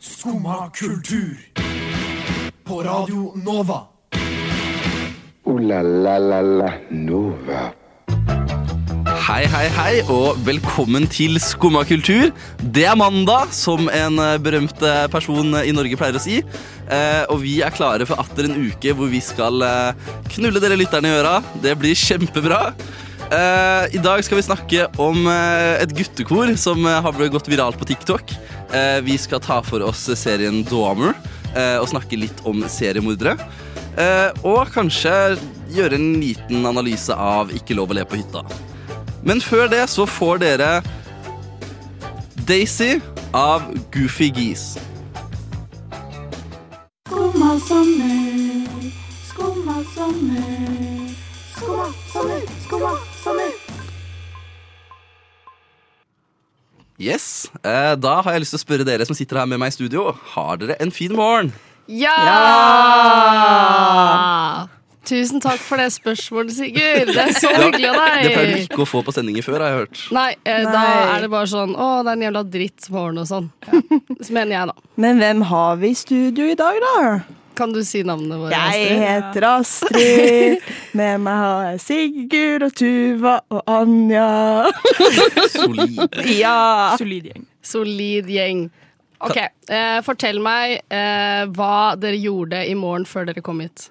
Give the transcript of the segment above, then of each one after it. Skumma kultur. På Radio Nova. Ooh la la la la Nova. Hei, hei, hei, og velkommen til Skumma kultur. Det er mandag, som en eh, berømt eh, person i Norge pleier å si. Eh, og vi er klare for atter en uke hvor vi skal eh, knulle dere lytterne i øra. Det blir kjempebra. Eh, I dag skal vi snakke om eh, et guttekor som eh, har blitt gått viralt på TikTok. Eh, vi skal ta for oss serien Dahmer eh, og snakke litt om seriemordere. Eh, og kanskje gjøre en liten analyse av Ikke lov å le på hytta. Men før det så får dere Daisy av Goofy Geese. Skumma sommer, skumma sommer, skumma sommer, skumma sommer. Yes, eh, Da har jeg lyst til å spørre dere som sitter her med meg i studio, har dere en fin morgen? Ja! Tusen takk for det spørsmålet, Sigurd. Det er så hyggelig av Det pleier du deg. ikke å få på sendinger før, har jeg hørt. Nei, eh, da Nei. er det bare sånn Å, det er en jævla drittmorgen og sånn. Så mener jeg, da. Men hvem har vi i studio i dag, da? Kan du si navnene våre? Jeg Astrid? heter Astrid. Med meg har jeg Sigurd og Tuva og Anja. Solid. Ja! Solid gjeng. Solid gjeng. OK, eh, fortell meg eh, hva dere gjorde i morgen før dere kom hit.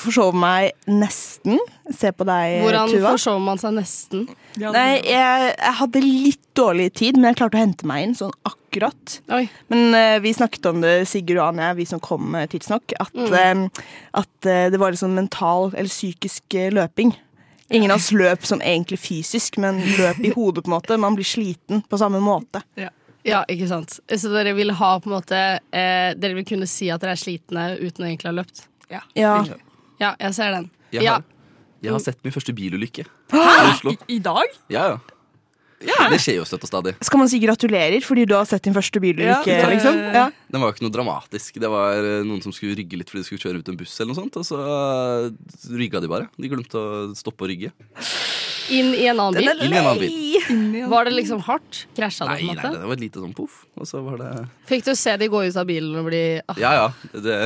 Forsov meg nesten. Se på deg, Hvordan Eh, Tuva. forsov man seg nesten? Nei, jeg, jeg hadde litt dårlig tid, men jeg klarte å hente meg inn sånn akkurat. Oi. Men eh, vi snakket om det, Sigurd og Anja, vi som kom eh, tidsnok, at, eh, at eh, det var litt sånn mental eller psykisk eh, løping. Ingen av oss løp sånn egentlig fysisk, men løp i hodet på en måte. Man blir sliten på samme måte. Ja, ikke sant. Så dere vil ha på en måte eh, Dere vil kunne si at dere er slitne uten å egentlig ha løpt? Ja. Ja, jeg ser den. Jeg Ja. har, jeg har sett min første bilulykke i Oslo. I dag? Ja, ja. Det skjer jo støtt og stadig. Skal man si gratulerer fordi du har sett din første bilulykke? Ja. liksom? ja. Den var jo ikke noe dramatisk. Det var eh, noen som skulle rygge litt fordi de skulle kjøre ut en buss, eller noe sånt, og så eh, rygga de bare. De glemte å stoppe å rygge. Inn i en annen bil? Inn i en annen bil. Var det liksom hardt? Krasja det? Nei, på en nei, måte? det var et lite sånn poff, og så var det Fikk du se de gå ut av bilen og bli ah, Ja, ja. Det,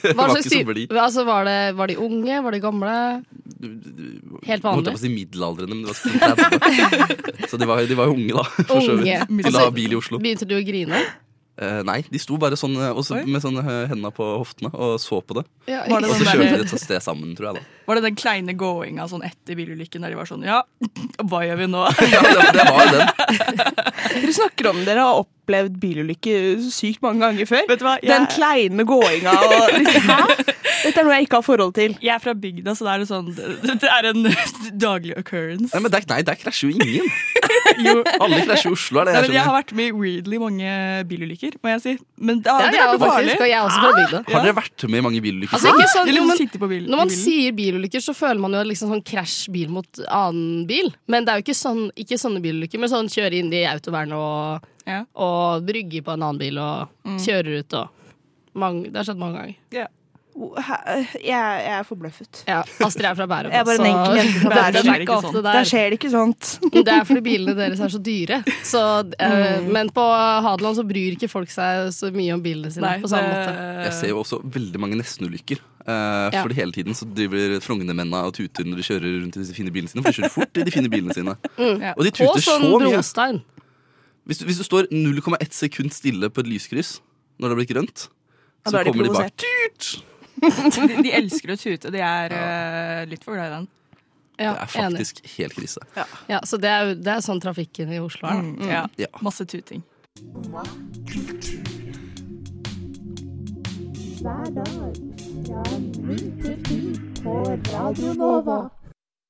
det var ikke hva slags så typ- blid. altså, var, det, var de unge? Var de gamle? Helt Jeg Holdt vanlig? jeg på å si middelaldrende, men det var sånn så Så de var, de var jo unge, da. For så vidt. Unge. Til å ha Altså- bil i Oslo. Begynte du å grine? Eh, nei, de sto bare sånn eh, og så- Oi. med sånne eh, hendene på hoftene og så på det. Ja, Var Og det så sånn kjørte der- de et sånt sted sammen, tror jeg, da. Var det den kleine gåinga sånn etter bilulykken der de var sånn Ja, hva gjør vi nå? Ja, det, det var jo den. Dere snakker om dere har opplevd bilulykke sykt mange ganger før. Vet du hva? Jeg, Den kleine gåinga og liksom, Hæ? Dette er noe jeg ikke har forhold til. jeg er fra bygda, så det er, en sånn, det, det er en daglig occurrence. Nei, men der, nei, der krasjer jo ingen. Jo. Alle krasjer i Oslo, er det jeg Nei, men jeg har skjønner. vært med i weirdly mange bilulykker, må jeg si. Men det, Ja, det ja, er noe farlig. faktisk, og jeg er også fra bygda. Har dere vært med i mange bilulykker? Altså, ikke sånn, Eller jo, liksom men, sitte på bil, når man i bilen. sier bilulykker, så føler man jo liksom sånn krasj bil mot annen bil. Men det er jo ikke, sånn, ikke sånne bilulykker, men sånn kjøre inn i autovernet og, Ja. og brygge på en annen bil og Mm. kjører ut og mange, Det har skjedd mange ganger. Jeg, jeg er forbløffet. Ja, Astrid er fra Bærum. Jeg er bare en så- enkel jente fra Bærum Bærum. er Det ikke er ofte ikke der. Der skjer det ikke sånt. Det er fordi bilene deres er så dyre. Så, eh, Mm. Men på Hadeland så bryr ikke folk seg så mye om bilene sine. Nei, på samme måte det- Jeg ser jo også veldig mange nestenulykker. Uh, Ja. Fordi hele tiden så driver Frognermennene og tuter når de kjører rundt i disse fine bilene sine. For de kjører fort i de fine bilene sine. Ja. Og de Mm. Og tuter så sånn mye. brostein. Hvis du, hvis du står 0,1 sekund stille på et lyskryss når det har blitt grønt, Ja, så da er de kommer de bak. provosert. Tut! de, de elsker å tute. De er eh, litt for glad i den. Ja, Det er enig. faktisk helt krise. Ja, så det er, jo- det er sånn trafikken i Oslo er. da. Ja. Ja. Masse tuting.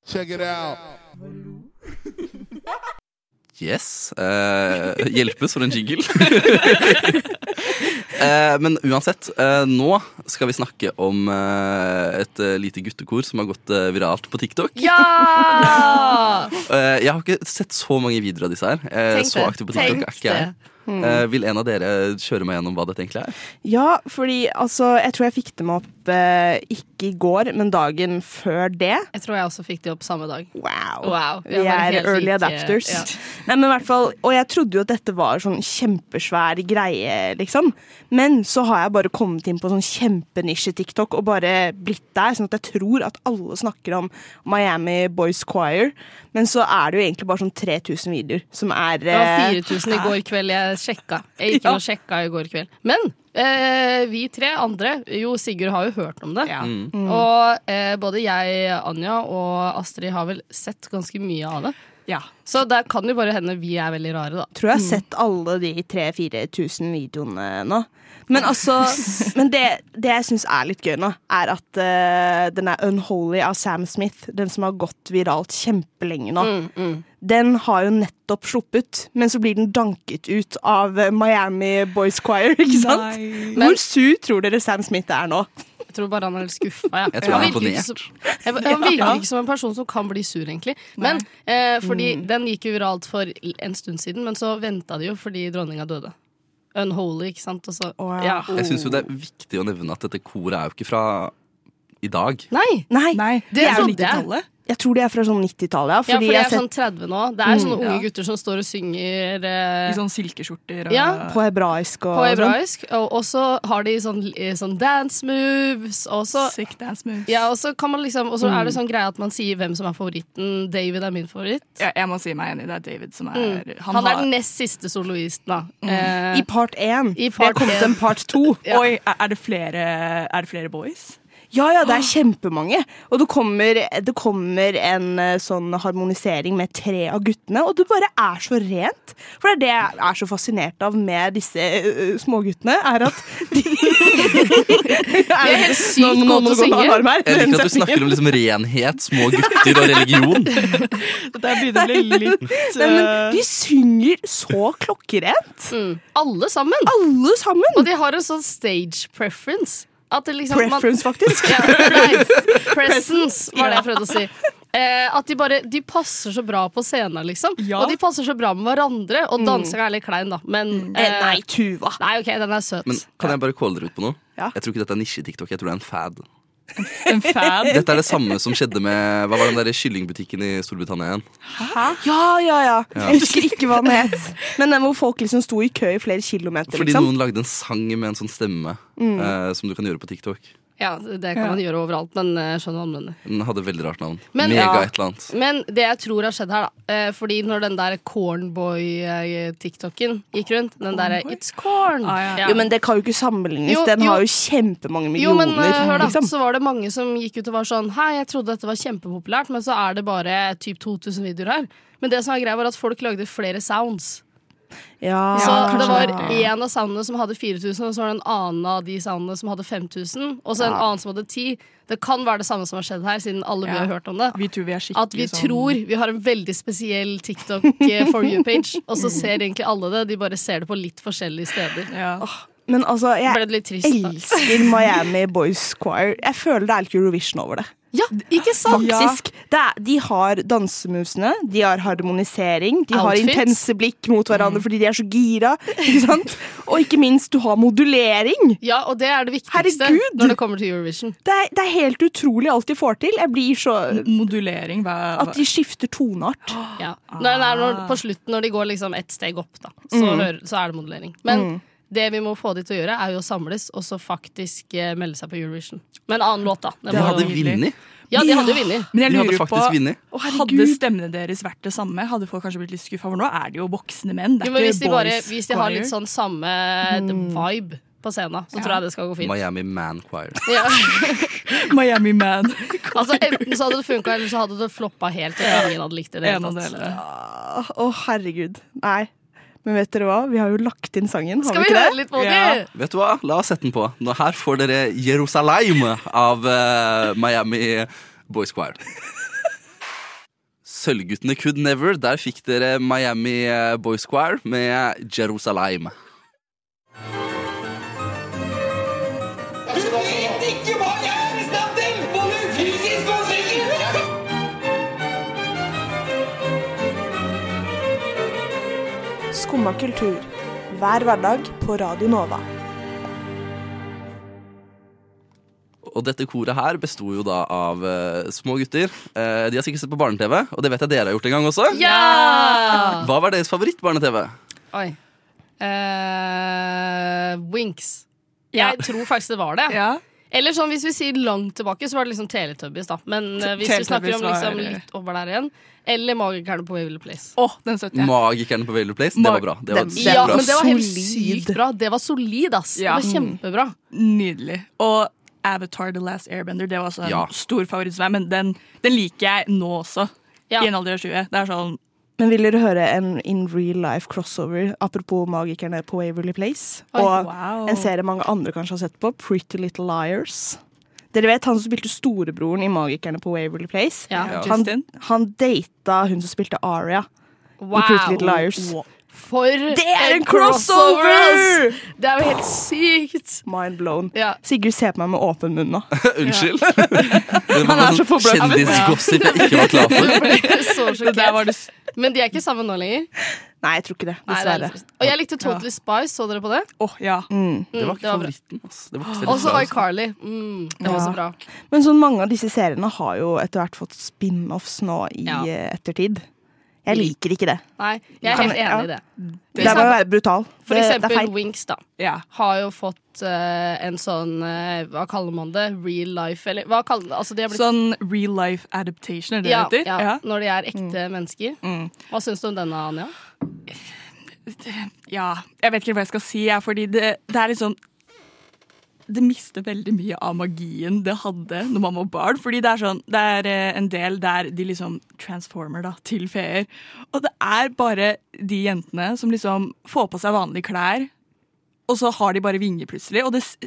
Check it out. Yes. Eh, hjelpes for en jingle. eh, men uansett, eh, nå skal vi snakke om eh, et eh, lite guttekor som har gått eh, viralt på TikTok. Ja! Eh, jeg har ikke sett så mange videoer av disse her. Eh, Tenk så det. aktiv på TikTok Tenk Hmm. er ikke jeg. Eh, vil en av dere kjøre meg gjennom hva dette egentlig er? Ja, fordi altså Jeg tror jeg fikk dem opp eh, ikke i går, men dagen før det. Jeg tror jeg også fikk de opp samme dag. Wow. Wow, vi Vi var er helt early like, adapters. ja. Nei, men i hvert fall, og jeg trodde jo at dette var sånn kjempesvær greie, liksom. Men så har jeg bare kommet inn på sånn kjempenisje-TikTok og bare blitt der, sånn at jeg tror at alle snakker om Miami Boys Choir. Men så er det jo egentlig bare sånn 3000 videoer som er Det var eh, 4000 i går kveld jeg sjekka. Jeg gikk inn og sjekka i går kveld. Men eh, vi tre andre, jo Sigurd har jo hørt om det. Og eh, både jeg, Anja og Astrid har vel sett ganske mye av det. Ja. Så der kan jo bare hende vi er veldig rare, da. tror jeg har sett alle de 3000-4000 videoene nå. Men altså Men det, det jeg syns er litt gøy nå, er at eh, den er Unholy av Sam Smith, den som har gått viralt kjempelenge nå, Mm, den har jo nettopp sluppet, men så blir den danket ut av eh, Miami Boys Choir, ikke sant? Men- Hvor sur tror dere Sam Smith er nå? Jeg tror bare han er litt skuffa. Ja. Jeg tror han er virker ikke imponert. som- Jeg- Han virker ikke som en person som kan bli sur, egentlig. Men eh, fordi Den gikk jo viralt for en stund siden, men så venta de jo fordi dronninga døde. Unholy, ikke sant. Og så, Wow. ja. Jeg syns jo det er viktig å nevne at dette koret er jo ikke fra i dag. Nei! Nei, Nei, Det sånn- det er jo trodde jeg. 90-tallet. jeg tror de er fra sånn 90-tallet, ja, Ja, fordi for de jeg er har sett sånn 30 nå. Det er sånne unge Ja. gutter som står og synger I eh, sånn silkeskjorter og Ja. på hebraisk og på sånn. hebraisk. Og, og så har de sånn, eh, sånn dance moves. Og så, sick dance moves. ja, og så kan man liksom Og så er det sånn greie at man sier hvem som er favoritten. David er min favoritt. Ja, jeg må si meg enig. Det er David som er Mm. Han, er den nest siste soloisten, da. Eh, I part én. I Det har part kommet én. en part to. Ja. Oi, er er det flere Er det flere boys? Ja, ja, det Ah. er kjempemange. Og det kommer, det kommer en eh, sånn harmonisering med tre av guttene, og det bare er så rent. For det er det jeg er så fascinert av med disse eh, småguttene, er at de de er helt sykt Nå- nå gode må til å det gå en synge. alarm her. Jeg liker at Den du snakker om liksom renhet, små gutter og religion. Det begynner å bli litt setningen. Nei, men De synger så klokkerent, eh, Mm. Alle sammen. alle sammen. Og de har en sånn stage preference. At det liksom, man- Preference, faktisk. Ja, pre- presence var det jeg prøvde å si. Eh, at de bare de passer så bra på scenen, liksom. Ja. Og de passer så bra med hverandre. Og dansingen er litt klein, da, men Eh, eh, Nei, Tuva. nei, OK, den er søt. Men kan jeg bare calle dere ut på noe? Ja. Jeg tror ikke dette er nisje-TikTok. Jeg tror det er en fad. En fan. Dette er det samme som skjedde med Hva var den der kyllingbutikken i Storbritannia igjen? Ja, ja, ja. Jeg husker ikke hva den het. Men den hvor folk liksom sto i kø i flere kilometer, Fordi liksom. noen lagde en sang med en sånn stemme Mm. eh, som du kan gjøre på TikTok. Ja, det kan man gjøre overalt, men eh, skjønner hva du mener. Den hadde veldig rart navn. Men- Mega Ja. et eller annet. Men det jeg tror har skjedd her, da eh, Fordi når den der cornboy-tiktoken gikk rundt Den derre It's corn. Ah, ja. Ja. Jo, men det kan jo ikke sammenlignes. Jo, den jo. har jo kjempemange Jo, millioner. men eh, hør da, liksom. så var det mange som gikk ut og var sånn Hei, jeg trodde dette var kjempepopulært, men så er det bare typ 2000 videoer her. Men det som er greia var at folk lagde flere sounds. ja, Så kanskje det var det. én av soundene som hadde 4000, og så var det en annen av de soundene som hadde 5000, og så en annen som hadde 10. Det kan være det samme som har skjedd her, siden alle vi Ja. har hørt om det. Vi tror vi er skikkelig At vi sånn tror vi har en veldig spesiell TikTok eh, for you-page, og så ser egentlig alle det. De bare ser det på litt forskjellige steder. ja. Men altså, Ble jeg det litt trist, da? elsker Miami Boys Choir. Jeg føler det er litt Eurovision over det. Ja, ikke sant? Faktisk. Det er, de har dansemovesene, de har harmonisering, de har Outfits. intense blikk mot Mm. hverandre fordi de er så gira. Ikke sant? Og ikke minst, du har modulering! Ja, og det er det viktigste Herregud! når det kommer til Eurovision. Det er, det er helt utrolig alt de får til. Jeg blir så modulering. Hva, At de skifter toneart. Ja. Når, nei, når, på slutten, når de går liksom ett steg opp, da, så, hører, så er det modellering. Men det vi må få de til å gjøre, er jo å samles og så faktisk eh, melde seg på Eurovision. Med en annen låt, da. Det De må- hadde nydelig. vunnet. ja, de hadde jo vunnet. Men jeg De hadde lurer på faktisk vunnet. Hadde stemmene deres vært det samme, hadde folk kanskje blitt litt skuffa. For nå er det jo voksne menn. Det Jo, er men ikke hvis de, bare, boys hvis de har litt choir. sånn samme vibe på scenen, så tror jeg det skal gå fint. Miami Man Choir. Ja. sånn- Miami Man. Altså, enten så hadde det funka, eller så hadde det floppa helt. Og ingen hadde likt det. i det En hele av tatt. delene. Å, herregud. Nei. Men vet dere hva? Vi har jo lagt inn sangen. Har Skal vi ikke høre det? litt på det? Ja. Vet du hva? La oss sette den på. Nå her får dere Jerusalem av eh, Miami Boys Choir. Sølvguttene Could Never. Der fikk dere Miami eh, Boys Choir med Jerusalem. Skumma kultur. Hver hverdag på Radio Nova. Og dette koret her besto jo da av eh, små gutter. Eh, de har sikkert sett på barne-TV, og det vet jeg dere har gjort en gang også. Ja! Hva var deres favoritt-barne-TV? Oi. eh, Winx. Ja. Jeg tror faktisk det var det. Ja. Eller sånn, hvis vi sier langt tilbake, så var det liksom Teletubbies, da. Men eh, hvis vi Teletubbies snakker om liksom, var- litt over der igjen, eller Magikerne på Waverly Place. Å, den støtter jeg. Magikerne på Vailer Place, det var bra. Det var Den- sykt Ja, bra. men det var helt Solid. sykt bra. Det var solid, ass. Det Ja. var kjempebra. Nydelig. Og Avatar The Last Airbender det var også en Ja. stor favoritt for meg, men den, den liker jeg nå også. Ja. I en alder av 20. Det er sånn Men vil dere høre en in real life crossover apropos magikerne på Waverly Place? Oi, og wow. en serie mange andre kanskje har sett på, Pretty Little Liars. Dere vet han som spilte storebroren i Magikerne på Waverly Place? Ja. Ja. Han, Justin. han data hun som spilte Aria i Pretty Little Wow! Liars. For Det er en crossover, crossover! ass! Det er jo helt sykt! Mind blown. Ja. Sigurd ser på meg med åpen munn nå. Unnskyld. Det var er noe så sånn forbløffet. kjendisgossip jeg ikke var klar for. Jeg ble så Det der sjokkert. var det s- Men de er ikke sammen nå lenger. Nei, jeg tror ikke det. Nei, det er Dessverre. litt trist. Og jeg likte Totally Spice. Så dere på det? Åh, ja. Det var ikke Mm, det var bra. favoritten. ass. Det var ikke så Også bra, ass. altså. iCarly. Mm, det var Ja. også bra. Men sånn mange av disse seriene har jo etter hvert fått spin-offs nå i Ja. eh, ettertid. Jeg liker ikke det. Nei, jeg er Kan- helt ja. enig i det. Det er bare å være brutal. For Det, det er eksempel feil. Winx, da. ja. Har jo fått eh, en sånn eh, Hva kaller man det? Real life, eller hva kaller Altså, de har blitt Sånn real life adaptation, er det ja, det heter? ja, Når de er ekte mennesker. Mm. Hva syns du om denne, Anja? Ja, jeg vet ikke hva jeg skal si, jeg, fordi det, det er liksom Det mister veldig mye av magien det hadde når man var barn. Fordi det er sånn, det er eh, en del der de liksom transformer da, til feer. Og det er bare de jentene som liksom får på seg vanlige klær, og så har de bare vinger plutselig. Og det, s-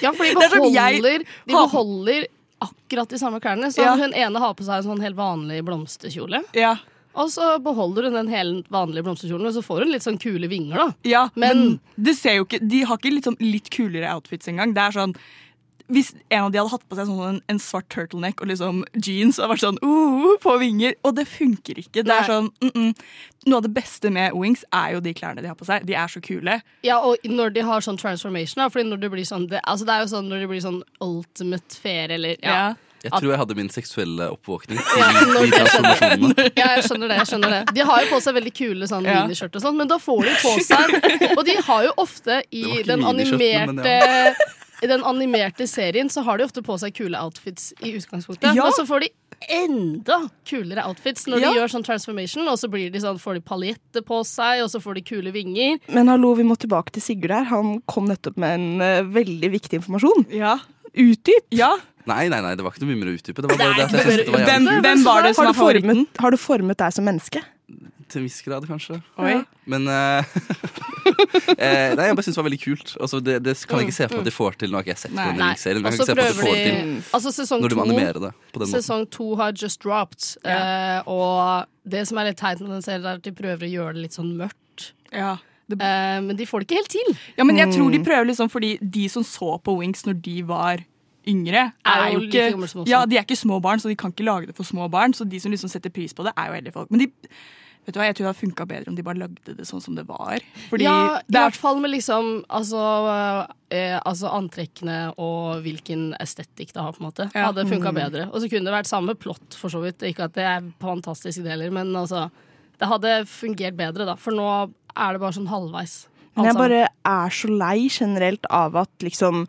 Ja, for de Det er som jeg- beholder, de Ha- beholder akkurat de samme klærne. Så Ja. hun ene har på seg en sånn helt vanlig blomsterkjole. ja, Og så beholder hun den helt vanlige blomsterkjolen, og så får hun litt sånn kule vinger, da. ja men, Men- det ser jo ikke, de har ikke liksom litt kulere outfits engang. Det er sånn hvis en av de hadde hatt på seg sånn en, en svart turtleneck og liksom jeans og vært sånn uh, på vinger, og det funker ikke. Det Nei. er sånn, mm -mm. Noe av det beste med Wings er jo de klærne de har på seg. De er så kule. Ja, og når de har sånn transformation, da. Fordi når det blir sånn det, altså det er jo sånn når det blir sånn ultimate ferie, eller ja. Jeg tror jeg hadde min seksuelle oppvåkning Ja, til når de det sånn. transformasjonene. ja, jeg skjønner det. jeg skjønner det De har jo på seg veldig kule sånn Ja. miniskjørt og sånn, men da får de på seg Og de har jo ofte i Det var ikke den miniskjørtene, men animerte I den animerte serien så har de ofte på seg kule outfits i utgangspunktet, Ja. men så får de enda kulere outfits når Ja. de gjør sånn transformation, og så blir de sånn, får de paljetter på seg, og så får de kule vinger. Men hallo, vi må tilbake til Sigurd her. Han kom nettopp med en eh, veldig viktig informasjon. Ja. Utdyp! ja. Nei, nei, nei, det var ikke noe mye mer å utdype. Det var bare Det det er at jeg ikke noe synes det var mer å Hvem, jævlig. utdype. hvem var det som Har var du, formet, favoritten? har du formet deg som menneske? Til en viss grad, kanskje. Oi. Men eh, eh, Nei, jeg bare syns det var veldig kult. Altså, det, det kan jeg ikke se for meg at de får til. Nå har ikke jeg sett på Nei. den Nei. serien. Men jeg Og så kan ikke se for meg at de prøver får det de Altså til sesong når de to animerer det på den måten. Sesong to har just dropped, Ja. eh, og det som er litt teit med den serien, er at de prøver å gjøre det litt sånn mørkt. Ja. Det, Eh, men de får det ikke helt til. ja, men jeg Mm. tror de prøver liksom fordi de som så på Wings når de var yngre, Er jo er jo like ikke gamle som oss. Ja, de er ikke små barn, så de kan ikke lage det for små barn. Så de som liksom setter pris på det, er jo eldre folk. Men de, vet du hva, jeg tror det hadde funka bedre om de bare lagde det sånn som det var. Fordi ja, I det er hvert fall med liksom altså, eh, altså antrekkene og hvilken estetikk det har, på en måte. Ja. Mm. Hadde funka bedre. Og så kunne det vært samme plott, for så vidt. Ikke at det er fantastisk det heller, men altså Det hadde fungert bedre, da. For nå er det bare sånn halvveis. alt Men jeg sammen. bare er så lei generelt av at liksom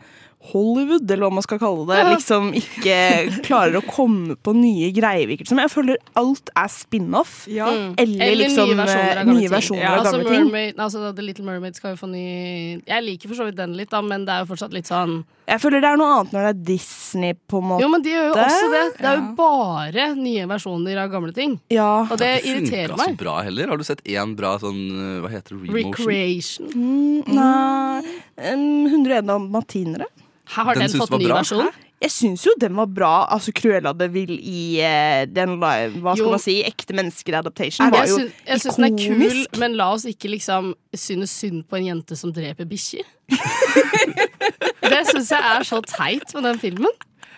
Hollywood, eller hva man skal kalle det, liksom ikke klarer å komme på nye greier. virker det som. Jeg føler alt er spin-off. Ja. Eller, liksom nye versjoner eh, av gamle nye ting. versjoner Ja. av gamle altså, ting. Mermaid, altså, The Little Mermaid skal jo få ny Jeg liker for så vidt den litt, da, men det er jo fortsatt litt sånn Jeg føler det er noe annet når det er Disney, på en måte. Jo, men de gjør jo også det. Det er jo Ja. bare nye versjoner av gamle ting. Ja. Og det Det altså. funket irriterer så meg. bra heller. Har du sett én bra sånn eh, Hva heter det? Remotion? Recreation. Mm, Nei um, 101 dalmatinere. Her har Den den, synes fått det var ny bra. versjon. Jeg syns jo den var bra. Altså Cruella de Vil i eh, den live Hva skal Jo. man si? Ekte mennesker adaptation var Jeg jo syns, jeg syns den er kul, ikonisk. men la oss ikke liksom synes synd på en jente som dreper bikkjer. det syns jeg er så teit med den filmen.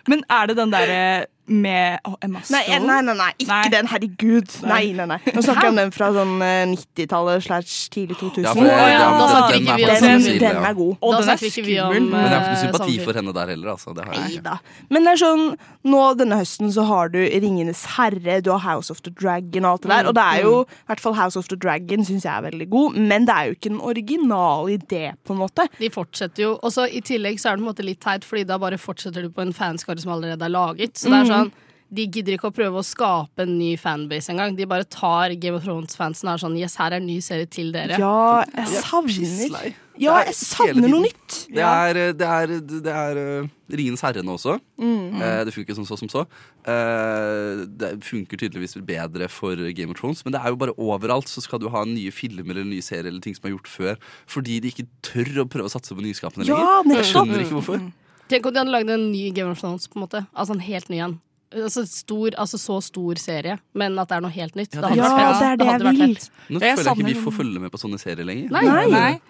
Men er det den derre med oh, Emma Nei, Stone. nei, nei, nei, ikke Nei. den, herregud. Nei, nei, nei. Nå snakker jeg om den fra sånn eh, 90-tallet slash tidlig 2000. Ja, for det- Å, ja, det- da det- snakker den ikke er vi på om- samme den, side, den ja. er god. Og Da den er snakker vi ikke vi om, skummel. eh, Men jeg har ikke noe sympati Sandefjord. for henne der heller. Altså. Det har jeg ikke. Neida. Men det er sånn, nå denne høsten så har du Ringenes herre, du har House of the Dragon og alt det der. Og det er jo, i hvert fall House of the Dragon syns jeg er veldig god, men det er jo ikke den originale idé, på en måte. De fortsetter jo. Og så i tillegg så er det på en måte litt teit, fordi da bare fortsetter du på en fanskare som allerede er laget. Så Mhm. det er sånn de gidder ikke å prøve å skape en ny fanbase engang. De bare tar Game of Thrones-fansen og er sånn Yes, her er en ny serie til dere. Ja, jeg savner Pisslei. Ja, Det er hele jeg savner tiden. noe nytt. Det er, eh, det er, det er eh, Ringens herre nå også. Eh, det funker som så som så. Eh, det funker tydeligvis bedre for Game of Thrones, men det er jo bare overalt så skal du ha nye filmer eller nye serier eller ting som er gjort før, fordi de ikke tør å prøve å satse på nyskapende Ja, lenger. Jeg nettopp. skjønner ikke hvorfor. Tenk om de hadde lagd en ny Game of Thrones, på en måte. Altså en helt ny en. Altså, stor, altså så stor serie, men at det er noe helt nytt. Ja, hadde det er- vært Ja, fett. det er det hadde jeg vært vil. fett. Nå føler Jeg jeg ikke savner- vi får følge med på sånne serier lenger. Nei. Nei. Nei.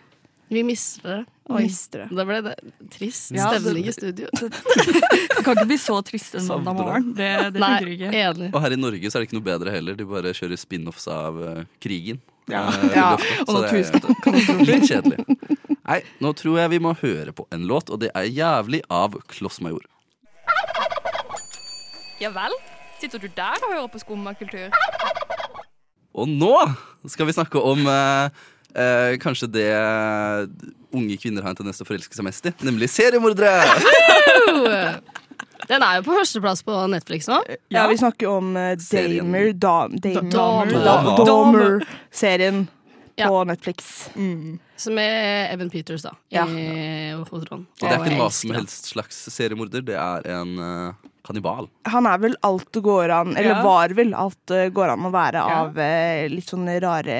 Vi mister det. Oi. Mister det. Det ble det. trist Ja, det- stemning i studio. Det kan ikke bli så trist en mandag Savner morgen. Det, det Nei, funker ikke. enig. Og her i Norge så er det ikke noe bedre heller. De bare kjører spin-offs av eh, krigen. Ja. Eh, Ja, Rudolf, og så det er- Litt kjedelig. Nei, nå tror jeg vi må høre på en låt, og det er jævlig av Klossmajor. Ja vel? Sitter du der og hører på skummakultur? Og nå skal vi snakke om eh, eh, kanskje det eh, unge kvinner har en tendens til å forelske seg mest i, nemlig seriemordere. Den er jo på førsteplass på Netflix nå. Ja, vi snakker jo om eh, Serien. Damer Dam- Damer- Dahmer. Da- Dahmer. Dahmer-serien på Ja. Netflix. Som er Evan Peters, da. Ja. I hovedrollen. Og det er ikke en hva som helst slags seriemorder, det er en eh, kannibal. Han er vel alt det går an Eller Ja. var vel alt det går an å være av eh, litt sånne rare,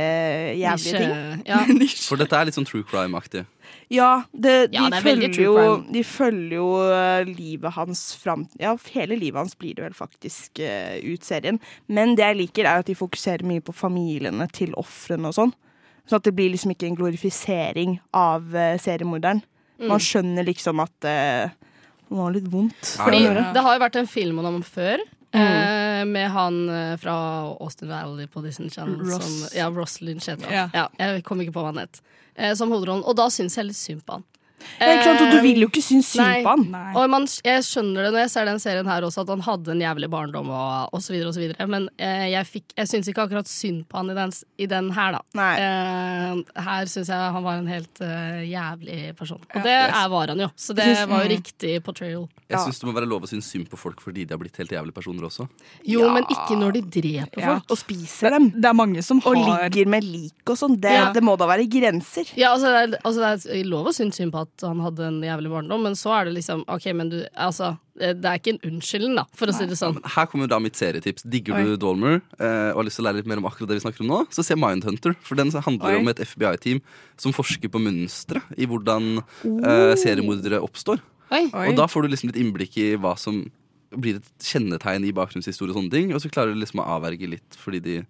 jævlige ting. Ja. For dette er litt sånn true crime-aktig. Ja, det, de, Ja, det er veldig følger true jo, crime. de følger jo eh, livet hans fram Ja, hele livet hans blir det vel faktisk eh, ut serien. Men det jeg liker, er at de fokuserer mye på familiene til ofrene og sånn. Sånn at det blir liksom ikke en glorifisering av eh, seriemorderen. Mm. Man skjønner liksom at eh, han har litt vondt. Fordi Er det- det har jo vært en film om ham før. eh, Med han eh, fra Austin Valley på Disney Channel. Ross. Som, ja, Ross Lynch heter han. Ja. Ja. jeg kom ikke på hva han het. eh, Som hovedrollen. Og da syns jeg litt synd på han. Ja, ikke sant? Og du vil jo ikke synes nei. synd på han. Nei. Eh, Og man, jeg skjønner det når jeg ser den serien her også, at han hadde en jævlig barndom og, og så videre og så videre. Men eh, jeg, fikk- jeg syns ikke akkurat synd på han i den, s- i den her, da. Nei. Eh, her syns jeg han var en helt eh, jævlig person. Og det Yes. er, var han jo, så det Jeg synes- var jo riktig portrayal. Jeg Ja. syns det må være lov å synes synd på folk fordi de har blitt helt jævlige personer også. Jo, men ikke når de dreper Ja. folk. Og spiser dem. Det er mange som Og har ligger med lik og sånn. Det, Ja. det må da være grenser. Ja, altså, det, er, altså, det er lov å synes synd på at han hadde en jævlig barndom, men så er det liksom OK, men du Altså, eh, det er ikke en unnskyldning, da, for å si det sånn. Her kommer da mitt serietips. Digger du Dolmer eh, og har lyst til å lære litt mer om akkurat det vi snakker om nå, så se Mindhunter. For den handler Oi. om et FBI-team som forsker på mønstre i hvordan eh, seriemordere oppstår. Oi. Oi. Og da får du liksom litt innblikk i hva som blir et kjennetegn i bakgrunnshistorie og sånne ting. Og så klarer du liksom å avverge litt fordi de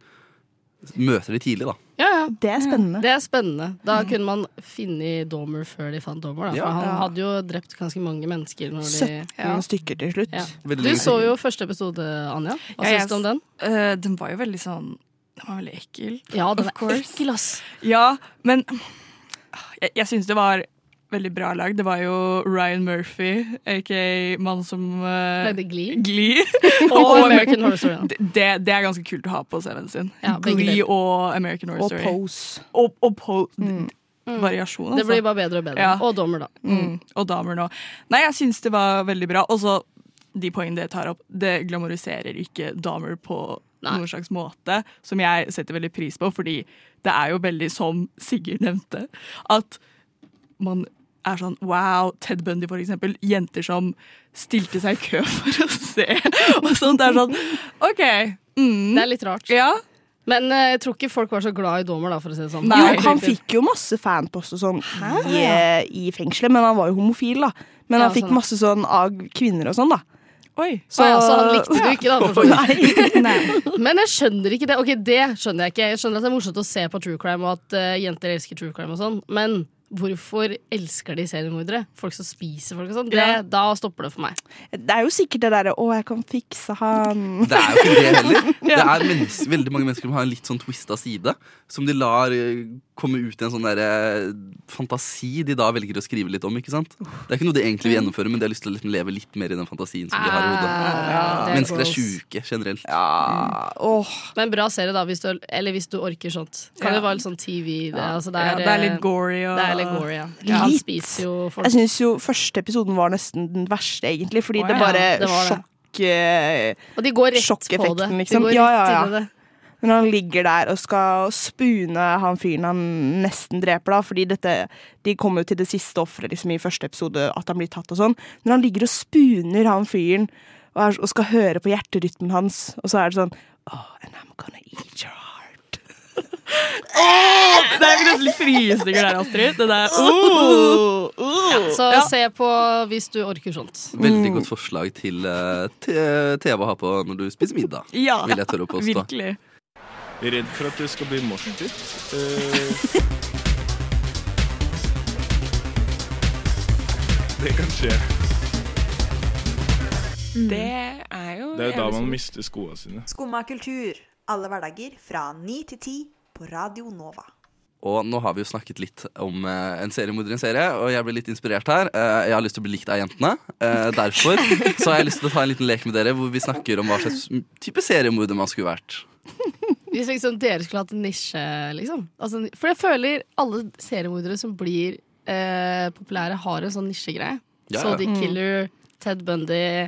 møter de tidlig, da. Ja, ja. Det er spennende. Det er spennende. Da kunne man funnet Dahmer før de fant Dahmer. Da. For Ja. han Ja. hadde jo drept ganske mange mennesker. Når de, 17 stykker til slutt. ja. Veldig Du lenge så siden. jo første episode, Anja. Hva Ja, syns jeg- du om den? Eh, Den var jo veldig sånn Den var veldig ekkel. Ja, den Of er course. ekkel, ass. Ja, men jeg, jeg syns det var veldig bra lag. Det var jo Ryan Murphy, aka mannen som eh, Lagde Glee. Glee. Og American Horror Story. da. Det, det er ganske kult å ha på CV-en sin. Ja, begge Glee deler. og American Horror Og Mm. Story. pose. Og, og po Variasjon, Det altså. blir bare bedre og bedre. Ja. Og Dahmer, da. mm. Og damer nå. Nei, jeg syns det var veldig bra. Og så de poengene det tar opp, det glamoriserer ikke damer på Nei. noen slags måte, som jeg setter veldig pris på, fordi det er jo veldig som Sigurd nevnte, at man er sånn wow, Ted Bundy for eksempel, jenter som stilte seg i kø for å se, og sånt. Det er sånn OK. Det Mm, er litt rart. ja. Men eh, jeg tror ikke folk var så glad i Dahmer, da, for å si det sånn. Nei. jo, han fikk jo masse fanpost og sånn i, i fengselet, men han var jo homofil, da. Men Ja, han fikk sånn. masse sånn av kvinner og sånn, da. Oi. så, ja, så han likte det sånn. jo ikke, da. for så vidt. Nei. Men jeg skjønner ikke det. Ok, det skjønner jeg ikke. Jeg skjønner at det er morsomt å se på true crime, og at eh, jenter elsker true crime og sånn, men Hvorfor elsker de seriemordere? Folk som spiser folk og sånn. Ja. Det- Da stopper det for meg. Det er jo sikkert det derre 'Å, jeg kan fikse han'. Det er jo ikke det heller. Det er mennes- veldig mange mennesker som har en litt sånn twista side, som de lar eh, komme ut i en sånn der, eh, fantasi de da velger å skrive litt om. ikke sant? Det er ikke noe de egentlig vil gjennomføre, men de har lyst til å liksom leve litt mer i den fantasien som de har i hodet. Ah, det er Mennesker er gross. sjuke generelt. Ja, åh. Men bra serie, da, hvis du, eller hvis du orker sånt. Kan Ja. jo være litt sånn TV. Det, altså, det, Ja, er, det er litt eh, gory. Og, det er litt gory, ja. ja. Han Litt. spiser jo folk. Jeg syns jo første episoden var nesten den verste, egentlig, fordi Å, det ja. bare Ja, det var det. sjokk... eh, Og de går rett på det. Sjokkeffekten, De liksom. går Ja, rett ja, ja. inn i det. Når han ligger der og skal spune han fyren han nesten dreper, da, fordi dette, de kommer jo til det siste offeret liksom, i første episode, at han blir tatt og sånn. Når han ligger og spuner han fyren og, er, og skal høre på hjerterytmen hans, og så er det sånn Oh, and I'm gonna eat your heart. Det er nesten litt frysninger der, Astrid. Det der, Så se på hvis du orker sånt. Veldig godt forslag til eh, te- TV å ha på når du spiser middag. ja, Vil jeg tørre å påstå. virkelig. Redd for at det skal bli Eh, morsomt. det kan skje. Det er jo Det er da man mister skoene sine. Mm. Skumma kultur. Alle hverdager fra 9 til 10 på Radio Nova. Og nå har vi jo snakket litt om eh, en seriemorder i en serie, og jeg ble litt inspirert her. Eh, jeg har lyst til å bli likt av jentene. Eh, derfor så har jeg lyst til å ta en liten lek med dere hvor vi snakker om hva slags type seriemorder man skulle vært. Hvis liksom dere skulle hatt en nisje, liksom. Altså, for jeg føler alle seriemordere som blir eh, populære, har en sånn nisjegreie. Ja, ja. Sodic Mm. Killer, Ted Bundy,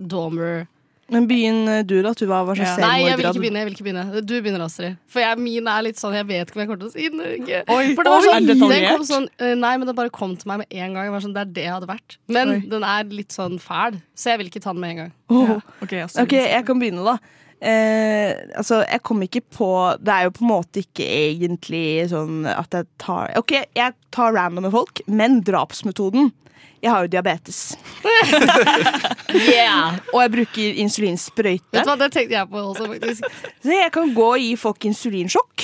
Dahmer Men begynn eh, du, da. Tuva, hva slags Nei, jeg vil selvmord ikke hadde- begynne. jeg vil ikke begynne Du begynner, Astrid. For jeg, min er litt sånn Jeg vet ikke om jeg kommer til å si den. eller ikke. Oi, For det var oi, sånn, er det den kom detaljert? sånn eh, Nei, men den bare kom til meg med en gang. Jeg var sånn, det er det jeg hadde vært. Men Oi. den er litt sånn fæl, så jeg vil ikke ta den med en gang. Åh. Ja. Uh! Ok, Astrid. Ok, jeg kan begynne da. Eh, altså, jeg kom ikke på Det er jo på en måte ikke egentlig sånn at jeg tar Ok, jeg tar randomme folk, men drapsmetoden Jeg har jo diabetes, og jeg bruker Vet insulinsprøyte. du hva, Det tenkte jeg på også, faktisk. Så jeg kan gå og gi folk insulinsjokk.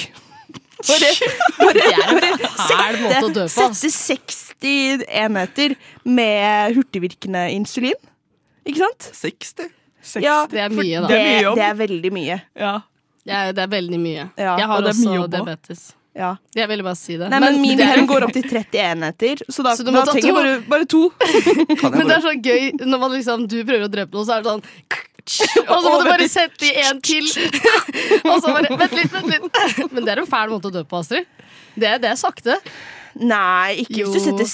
Bare, Det er en fæl måte å dø på. ass. sette 60 enheter med hurtigvirkende insulin. Ikke sant? 60? Ja, Det er mye, da. det, er mye jobb. det er veldig mye. Ja. Ja, det er veldig mye. Ja, jeg og har det er mye også jobb også. diabetes. Ja. Jeg ville bare si det. Nei, men, min det er, herren går opp til 30 enheter, så da, Så du må da ta trenger jeg bare, bare to. Kan jeg men det bare, er sånn gøy når man liksom, du prøver å drepe noen, så er det sånn og så må du bare sette i en til. Og så bare Vent litt, vent litt. Men det er en fæl måte å dø på, Astrid. Det, er- det er sakte. Nei, ikke Jo. hvis du setter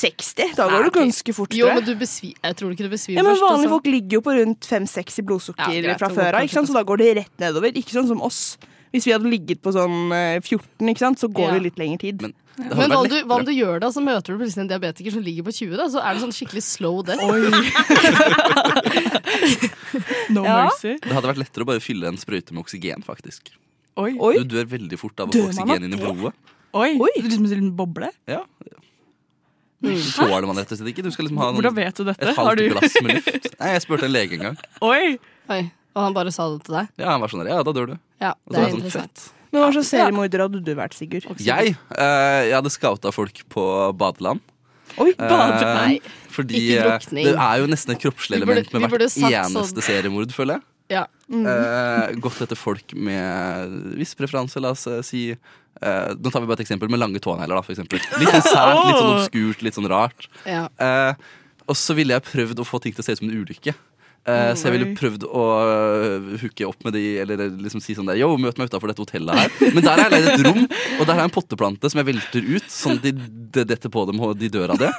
60. Da Nei, går du ok. ganske fort, Jo, tror men jeg. du besvi Jeg tror ikke du besvimer Ja, men først. Vanlige altså. folk ligger jo på rundt 5-6 i blodsukker Ja, greit, fra det går før av, kanskje ikke sant? ikke så da går det rett nedover. Ikke sånn som oss. Hvis vi hadde ligget på sånn eh, 14, ikke sant? så går Ja. det litt lengre tid. men det hadde Men hva om, vært du, hva om lettere. du gjør det, og så møter du plutselig en diabetiker som ligger på 20, da, så er det sånn skikkelig slow death. No Ja. mercy. det hadde vært lettere å bare fylle en sprøyte med oksygen, faktisk. Oi. Oi. Du dør veldig fort av å få Dør man av oksygen inn i blodet. Oi. Oi. Du liksom sier en boble? Ja. Tåler man rett og slett ikke? Du skal liksom ha Hvordan noen, vet du dette? et Har halvt du glass med luft. Nei, jeg spurte en lege en gang. Oi! Oi, og han bare sa det til deg? Ja, han var sånn der, ja, da dør du. Ja, Og så det er er det sånn, interessant. Men hva slags seriemorder hadde du vært, Sigurd? Jeg, eh, jeg hadde scouta folk på badeland. Oi, Eh, Nei. Fordi Ikke eh, drukning. det er jo nesten et kroppslig Vi burde- element med vi hvert burde satt sånn- Mm. eneste seriemord, føler jeg. Ja. Eh, gått etter folk med viss preferanse, la oss eh, si eh, Nå tar vi bare et eksempel med lange tånegler, da, for eksempel. Litt sånn sært, litt sånn obskurt, litt sånn rart. ja. Eh, og så ville jeg prøvd å få ting til å se ut som en ulykke. Eh, så jeg ville prøvd å øh, hooke opp med de, eller liksom si sånn der Yo, møt meg utafor dette hotellet her. Men der har jeg leid et rom, og der har jeg en potteplante som jeg velter ut, sånn at de, det detter på dem, og de dør av det.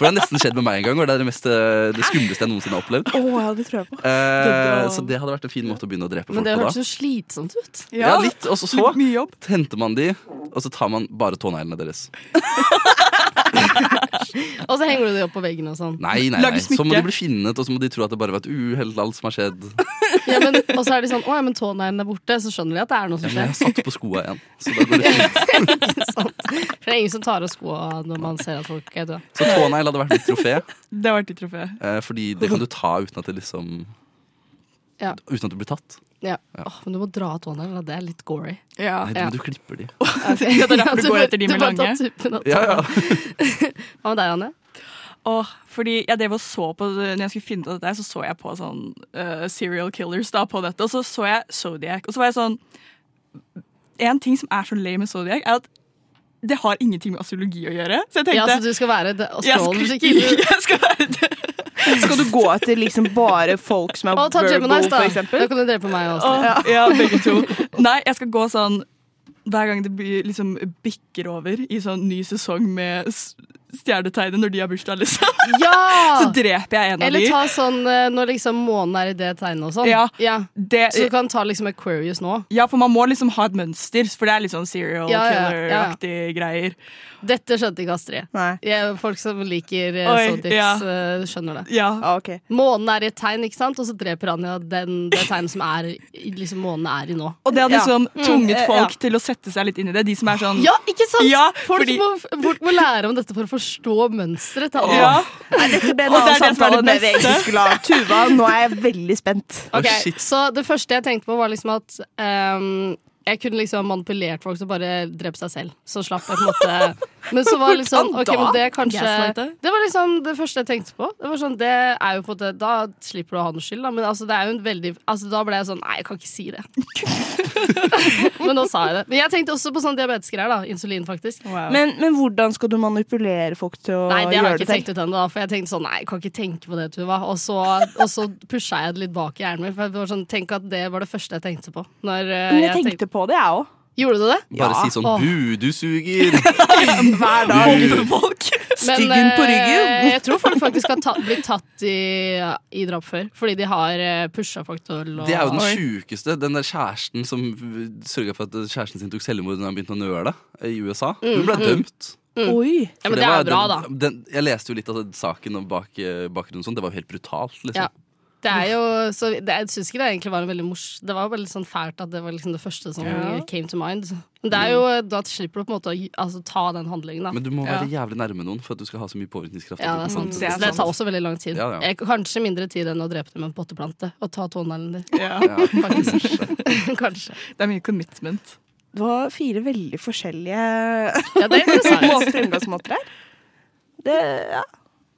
For det har nesten skjedd med meg en gang, og det er det, mest, øh, det skumleste jeg noensinne har opplevd. Å, ja, det tror jeg på. Eh, så det hadde vært en fin måte å begynne å drepe Men folk det på da. hørtes jo slitsomt ut. Ja, litt, og så, så Mye jobb. henter man de, og så tar man bare tåneglene deres. Og så henger du det opp på veggen og sånn. Nei, nei, Lage nei. Så må smykke. de bli finnet, og så må de tro at det bare var et uhell, alt som har skjedd. Ja, men, og så er de sånn 'Å ja, men tåneglen er borte', så skjønner de at det er noe Ja, som men jeg skjer. har altså. satt på skoa igjen. Så, da går det fint. Sant. For det er ingen som tar av skoa når man ser at folk er døde. så tånegl hadde vært mitt trofé, Det har vært ditt trofé. eh, Fordi det kan du ta uten at det liksom Ja. Uten at du blir tatt. Ja. Åh, men du må dra ut hånda, det er litt gory. Nei, du, men du klipper de. Ok. Ja, det er derfor du går bare- etter de med bare tar lange. tuppen opp. Ja, ja. Hva med deg, Anne? Åh, fordi jeg drev og så på Når jeg skulle finne ut av dette, her, så så jeg på sånn eh, serial killers da, på dette, og så så jeg Zodiac. Og så var jeg sånn En ting som er så lame med Zodiac, er at det har ingenting med astrologi å gjøre. Så jeg tenkte Ja, så du skal være det- jeg skal- astrolens ikke Skal du gå etter liksom bare folk som er Å, ta verbal, Geminis, da. for Da eksempel? kan du drepe meg også. Åh, ja, begge to. Nei, jeg skal gå sånn hver gang det blir liksom bikker over i sånn ny sesong med s- stjernetegnet når de har bursdag, liksom. Ja! Så dreper jeg en av Ah. Eller de. ta sånn eh, når liksom månen er i det tegnet og sånn. Ja, Så du kan ta liksom Aquarius nå. Ja, for man må liksom ha et mønster, for det er litt sånn serial Ja, ja, killer-aktige greier. Dette skjønte ikke Astrid. Jeg- folk som liker eh, Oi, Zodiacs, ja. eh, skjønner det. Ah, Ja. Månen er i et tegn, ikke sant? og så dreper Anja den, det tegnet som er, i- liksom månen er i nå. Og det hadde liksom Mm, tvunget eh, folk til å sette seg litt inn i det. De som er sånn Ja, ikke sant? Ja, folk, fordi- må, folk må lære om dette for å forstå mønsteret. til alle. Ja. Nei, dette ble en Og det annen er det som er samtale det enn det vi beste. egentlig skulle ha. Tuva, nå er jeg veldig spent. Ok, så det første jeg tenkte på var liksom at ehm, jeg kunne liksom manipulert folk til å bare drepe seg selv. Så slapp jeg på en måte Men så var det litt sånn Hvordan ok, men det er da? kanskje Gaslighte? Det var liksom det første jeg tenkte på. Det var sånn, det er jo på en måte Da slipper du å ha noe skyld, da. Men altså, det er jo en veldig Altså, da ble jeg sånn Nei, jeg kan ikke si det. men nå sa jeg det. Men jeg tenkte også på sånn diabetesgreier, da. Insulin, faktisk. Men, men hvordan skal du manipulere folk til å Nei, det har gjøre jeg ikke det tenkt ut ennå. da, For jeg tenkte sånn, nei, jeg kan ikke tenke på det, Tuva. Og så, og så pusha jeg det litt bak i hjernen min. For jeg var sånn, tenk at det var det første jeg tenkte på. Når, eh, Men jeg tenkte på det, jeg òg. Gjorde du det? Bare si sånn Åh. Bu, du suger! Hver Bu. Men, Styggen på eh, ryggen. jeg tror folk faktisk har ta, blitt tatt i, i drap før. Fordi de har pusha folk til å Det er jo den Oi. sjukeste. Den der kjæresten som sørga for at eh, kjæresten sin tok selvmord da han begynte å nøle i USA. Mm, Hun ble mm. dømt. Mm. Oi. Ja, For men det er var- jo bra, da. den, Den, jeg leste jo litt av den saken og bak, bakgrunnen og sånn. Det var jo helt brutalt, liksom. Ja. Det er jo, så det, jeg syns ikke det egentlig var en veldig mors... Det var jo bare litt sånn fælt at det var liksom det første som Ja. came to mind. Men det er jo, da slipper du på en måte å gi- altså, ta den handlingen, da. Men du må være jævlig nærme noen for at du skal ha så mye påvirkningskraft. Ja, at du det er kan sant. sende Mm, Det, det. tar også veldig lang tid. Ja, ja. Eh, Kanskje mindre tid enn å drepe dem med en potteplante og ta tåneglen din. Ja, Faktisk. kanskje. Kanskje. Det er mye commitment. Det var fire veldig forskjellige det er interessant. må- fremgangsmåter her. Det, ja.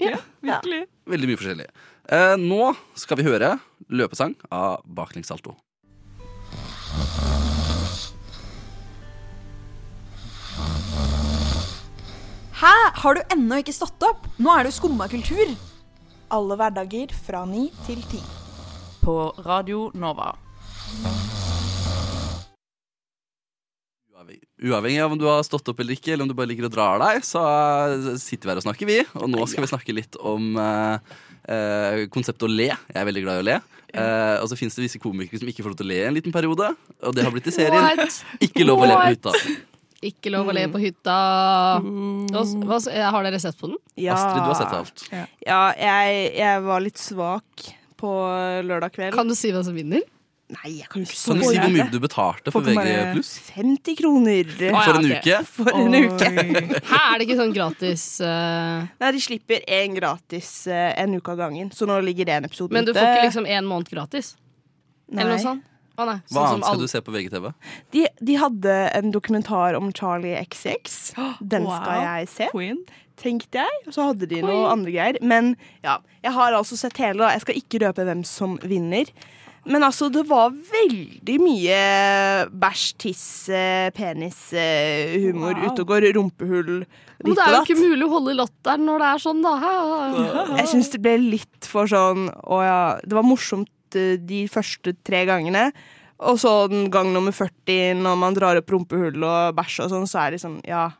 Ja, virkelig. Veldig mye forskjellig. Eh, nå skal vi høre løpesang av Baklengs Salto. Hæ? Har du ennå ikke stått opp? Nå er det jo skumma kultur. Alle hverdager fra ni til ti. På Radio Nova. Uavhengig av om du har stått opp eller ikke, eller om du bare ligger og drar deg, så eh, sitter vi her og snakker, vi. Og nå skal vi snakke litt om eh, eh, konseptet å le. Jeg er veldig glad i å le. Eh, og så fins det visse komikere som ikke får lov til å le i en liten periode, og det har blitt i serien. What? Ikke lov å le på What? hytta. Ikke lov å le på hytta. Og s- hva s- eh, Har dere sett på den? Ja. Astrid, du har sett alt. Ja, jeg, jeg var litt svak på lørdag kveld. Kan du si hvem som vinner? Nei, jeg kan jo ikke Kan du si spoile hvor mye det. du betalte for Folk kan VG bare- pluss? 50 kroner. For en uke? For en uke. Her er det ikke sånn gratis eh, Nei, de slipper én gratis eh, en uke av gangen, så nå ligger det en episode Men du ute. får ikke liksom én måned gratis? Eller Nei. noe sånt? Å nei. Hva sånn som annet skal alle- du se på VGTV? De, de hadde en dokumentar om Charlie XX. Den skal wow. jeg se. Queen. Tenkte jeg. Og så hadde de Queen. noe andre greier. Men ja, jeg har altså sett hele, da. Jeg skal ikke røpe hvem som vinner. Men altså, det var veldig mye bæsj, tiss, eh, penis, eh, humor Wow. ute og går. Rumpehull, Men ditt det er jo og ikke datt. mulig å holde latteren når det er sånn, da. Jeg syns det ble litt for sånn Å ja. Det var morsomt eh, de første tre gangene. Og så den gang nummer 40, når man drar opp rumpehull og bæsj og sånn, så er det sånn, ja.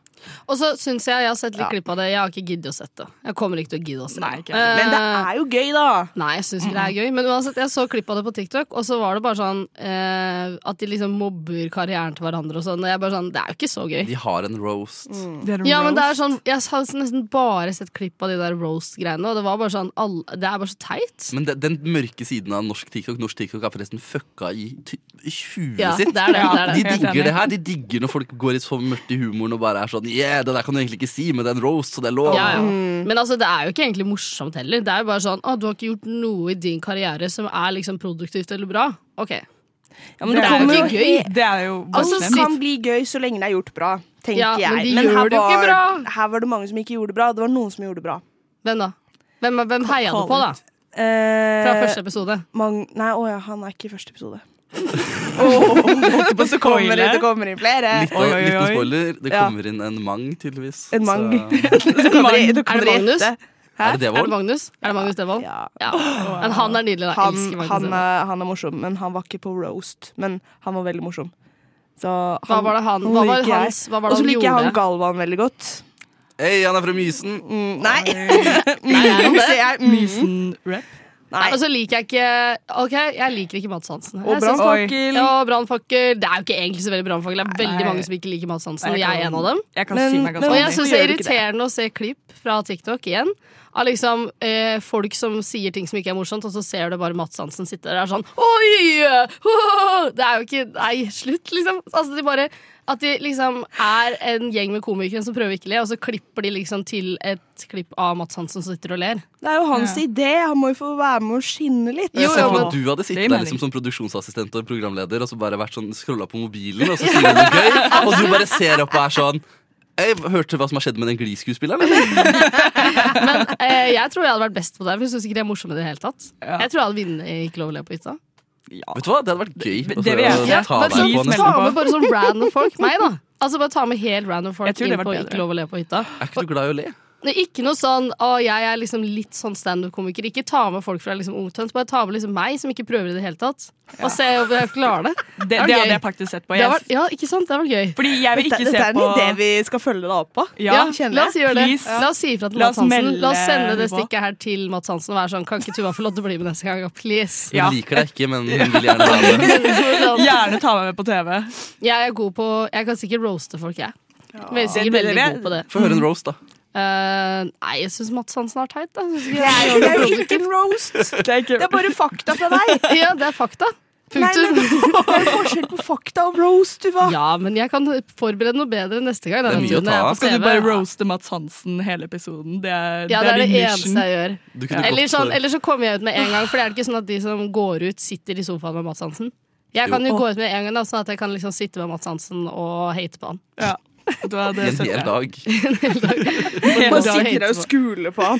Og så syns jeg jeg har sett litt Ja. klipp av det. Jeg har ikke giddet å sette det. Jeg kommer ikke til å gidde å se det. Men det Eh. er jo gøy, da. Nei, jeg syns ikke det er gøy. Men uansett, jeg så klipp av det på TikTok, og så var det bare sånn eh, at de liksom mobber karrieren til hverandre og sånn. Og jeg bare sånn, det er jo ikke så gøy. De har en roast. Ja, men det er sånn, Jeg har nesten bare sett klipp av de der roast-greiene, og det var bare sånn alle, Det er bare så teit. Men de, den mørke siden av norsk TikTok Norsk TikTok er forresten fucka i ty- i huet Ja, sitt. det er det, det er det. De Helt digger enig. det her. De digger når folk går i så mørkt i humoren og bare er sånn Yeah, det der kan du egentlig ikke si, men det er en roast, så det er lov. Ja, ja. Mm. Men altså, det er jo ikke egentlig morsomt heller. Det er jo bare sånn Å, du har ikke gjort noe i din karriere som er liksom produktivt eller bra. Ok. Ja, men det, Det er kommer jo jo ikke gøy. Det er jo Altså, bare det slemt. kan bli gøy så lenge det er gjort bra, tenker Ja, jeg. men de gjør her det jo ikke var, bra. her var det mange som ikke gjorde det bra. Det var noen som gjorde det bra. Hvem da? Hvem, hvem heia du på, da? Fra Eh, første episode. Eh, Mang nei, å ja, han er ikke i første episode. på så kommer det, det kommer inn flere. Litt av, liten spoiler. Det kommer inn en mang, tydeligvis. En mang. Så- Er det Magnus? Hæ? Er det Devold? Er det Magnus, er det Magnus Devold? Ja. Men han er nydelig, da. Han, Elsker Magnus han, Devold. er, han er morsom, men han var ikke på roast. Men han var veldig morsom. Så Hva var det han- hva var liker jeg. hans- hva var det Og så han liker jeg gjorde? han Galvan veldig godt. Mm, Hei, han er fra Mysen! nei! Ser jeg- mm. Mysen-rap. Nei. altså, Og så liker jeg ikke Ok, jeg liker ikke Mads Hansen. Og Jeg synes- brannfakkel. Ja, og brannfakkel. Det er jo ikke egentlig så veldig brannfakkel. Det er veldig Nei. mange som ikke liker Mads Hansen, Nei, og jeg jeg er en kan- av dem. jeg kan si meg og ganske enig. jeg syns Hvorfor det gjør er du ikke det? irriterende å se klipp fra TikTok igjen av liksom eh, folk som sier ting som ikke er morsomt, og så ser du bare Mads Hansen sitte der og er sånn Oi! Ho! Det er jo ikke Nei, slutt, liksom. Altså, de bare at de liksom er en gjeng med komikere som prøver ikke å le, og så klipper de liksom til et klipp av Mads Hansen som sitter og ler. Det er jo hans idé. Han må jo få være med og skinne litt. Jeg ser for meg at du hadde Det sittet mener der liksom som produksjonsassistent og programleder og så bare vært sånn scrolla på mobilen, og så sier du noe gøy, og du bare ser opp og er sånn jeg hørte hva som har skjedd med den gliskuespilleren. eller?» Men eh, jeg tror jeg hadde vært best på det, for jeg syns ikke de er morsomme i det hele tatt. Jeg tror jeg hadde vunnet i Ikke lov å le på hytta. Vet du hva, Det hadde vært gøy. å det vil jeg få si. ta Bare deg sånn- på Ta nesten. med bare sånn random folk. Meg, da. Altså Bare ta med helt random folk Jeg tror inn det på hadde vært Ikke lov å le på hytta. Er ikke du glad i å le? Det er Ikke noe sånn å, jeg er liksom litt sånn standup-komiker. Ikke ta med folk fra liksom Ungtønt, bare ta med liksom meg, som ikke prøver i det hele tatt. Og se om jeg klarer det. Det, er det gøy. hadde jeg faktisk sett på. Det Jeg, har vært, ja, ikke sant? Det hadde vært gøy. fordi jeg vil Dette, ikke dette se er en på idé vi skal følge deg opp på. Ja, kjenner la oss jeg. gjøre det. Please. La oss si ifra til La Mats oss Hansen. melde La oss sende det på. stikket her til Mats Hansen og være sånn Kan ikke Tuva få lov til å bli med neste gang? Please. Sånn. Hun liker deg ikke, men hun vil gjerne være med. Gjerne ta meg med på TV. Jeg er god på Jeg kan sikkert roaste folk, jeg. Men jeg er Det- sikkert det- veldig det- god på det. Få høre en roast, da. Eh, nei, jeg syns Mats Hansen er teit. Da. Jeg synes Det er ikke jo- det det er er noe jo ikke en roast. Det er bare fakta fra deg. problem. Ja, det er fakta. Nei, men Punktum. det er forskjell på fakta og roast, du hva. Ja, men jeg kan forberede noe bedre neste gang. da, Det er vet mye å når jeg ta er av. på Skal du TV. bare roaste Mats Hansen hele episoden? Det er, Ja, det er din det mission. eneste jeg gjør. Du kunne Eller, gått sånn, for- eller så kommer jeg ut med en gang, for det er ikke sånn at de som går ut, sitter i sofaen med Mats Hansen. Jeg kan jo, Jo. gå ut med en gang, da, sånn at jeg kan liksom sitte med Mats Hansen og hate på han. Ja. Du hadde I en sett hel det. dag. Hele Man dag. sitter der og skuler på han.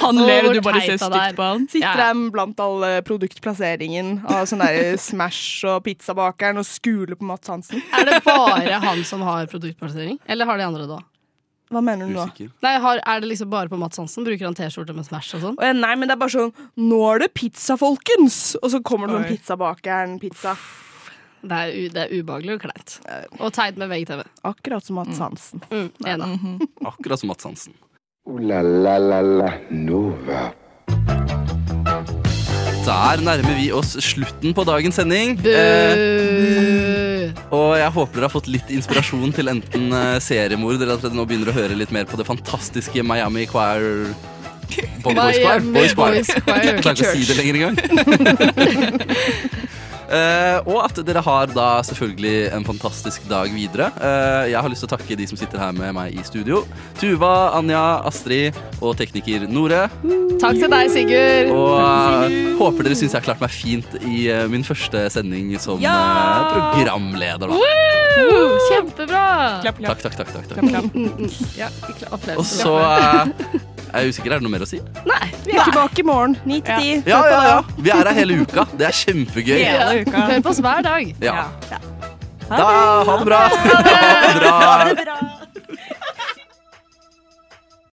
Han Å, ler, hvor og du bare teit ser han er. stygt på han. Sitter der blant all eh, produktplasseringen av sånn der Smash og pizzabakeren og skuler på Mats Hansen. Er det bare han som har produktplassering, eller har de andre det òg? Hva mener du nå? Usikker. Nei, har, er det liksom bare på Mats Hansen? Bruker han T-skjorte med Smash og sånn? Og jeg, nei, men det er bare sånn Nå er det pizza, folkens! Og så kommer det sånn Oi. pizzabakeren, pizza. Det er, u, det er ubehagelig og kleint. Og teit med VGTV. Akkurat som Mats Hansen. Mm, enig. Mhm. Akkurat som Mats Hansen. Ooh la la la la Nova. Der nærmer vi oss slutten på dagens sending. Eh, Buh. Og jeg håper dere har fått litt inspirasjon til enten eh, seriemord eller at dere nå begynner å høre litt mer på det fantastiske Miami Choir Bo- Boys Choir. Miami Boys Choir. Boys Choir. Jeg klarer ikke å si det lenger engang. Eh, og at dere har da selvfølgelig en fantastisk dag videre. Eh, jeg har lyst til å takke de som sitter her med meg i studio. Tuva, Anja, Astrid og tekniker Nore. Takk til deg, Sigurd. Og eh, håper dere syns jeg har klart meg fint i eh, min første sending som eh, programleder. Da. Woo! Kjempebra! Klapp, klapp, Takk, takk, takk. takk, klapp, takk. klapp. Ja, kla- applaus. Og så eh, Jeg er usikker, er det noe mer å si? Nei. Vi er tilbake i morgen. 9 til 10. Ja, ja, ja. Vi er her hele uka. Det er kjempegøy. Hele uka. Hør på oss hver dag. Ja. Da, ha det bra. Ha det bra. bra.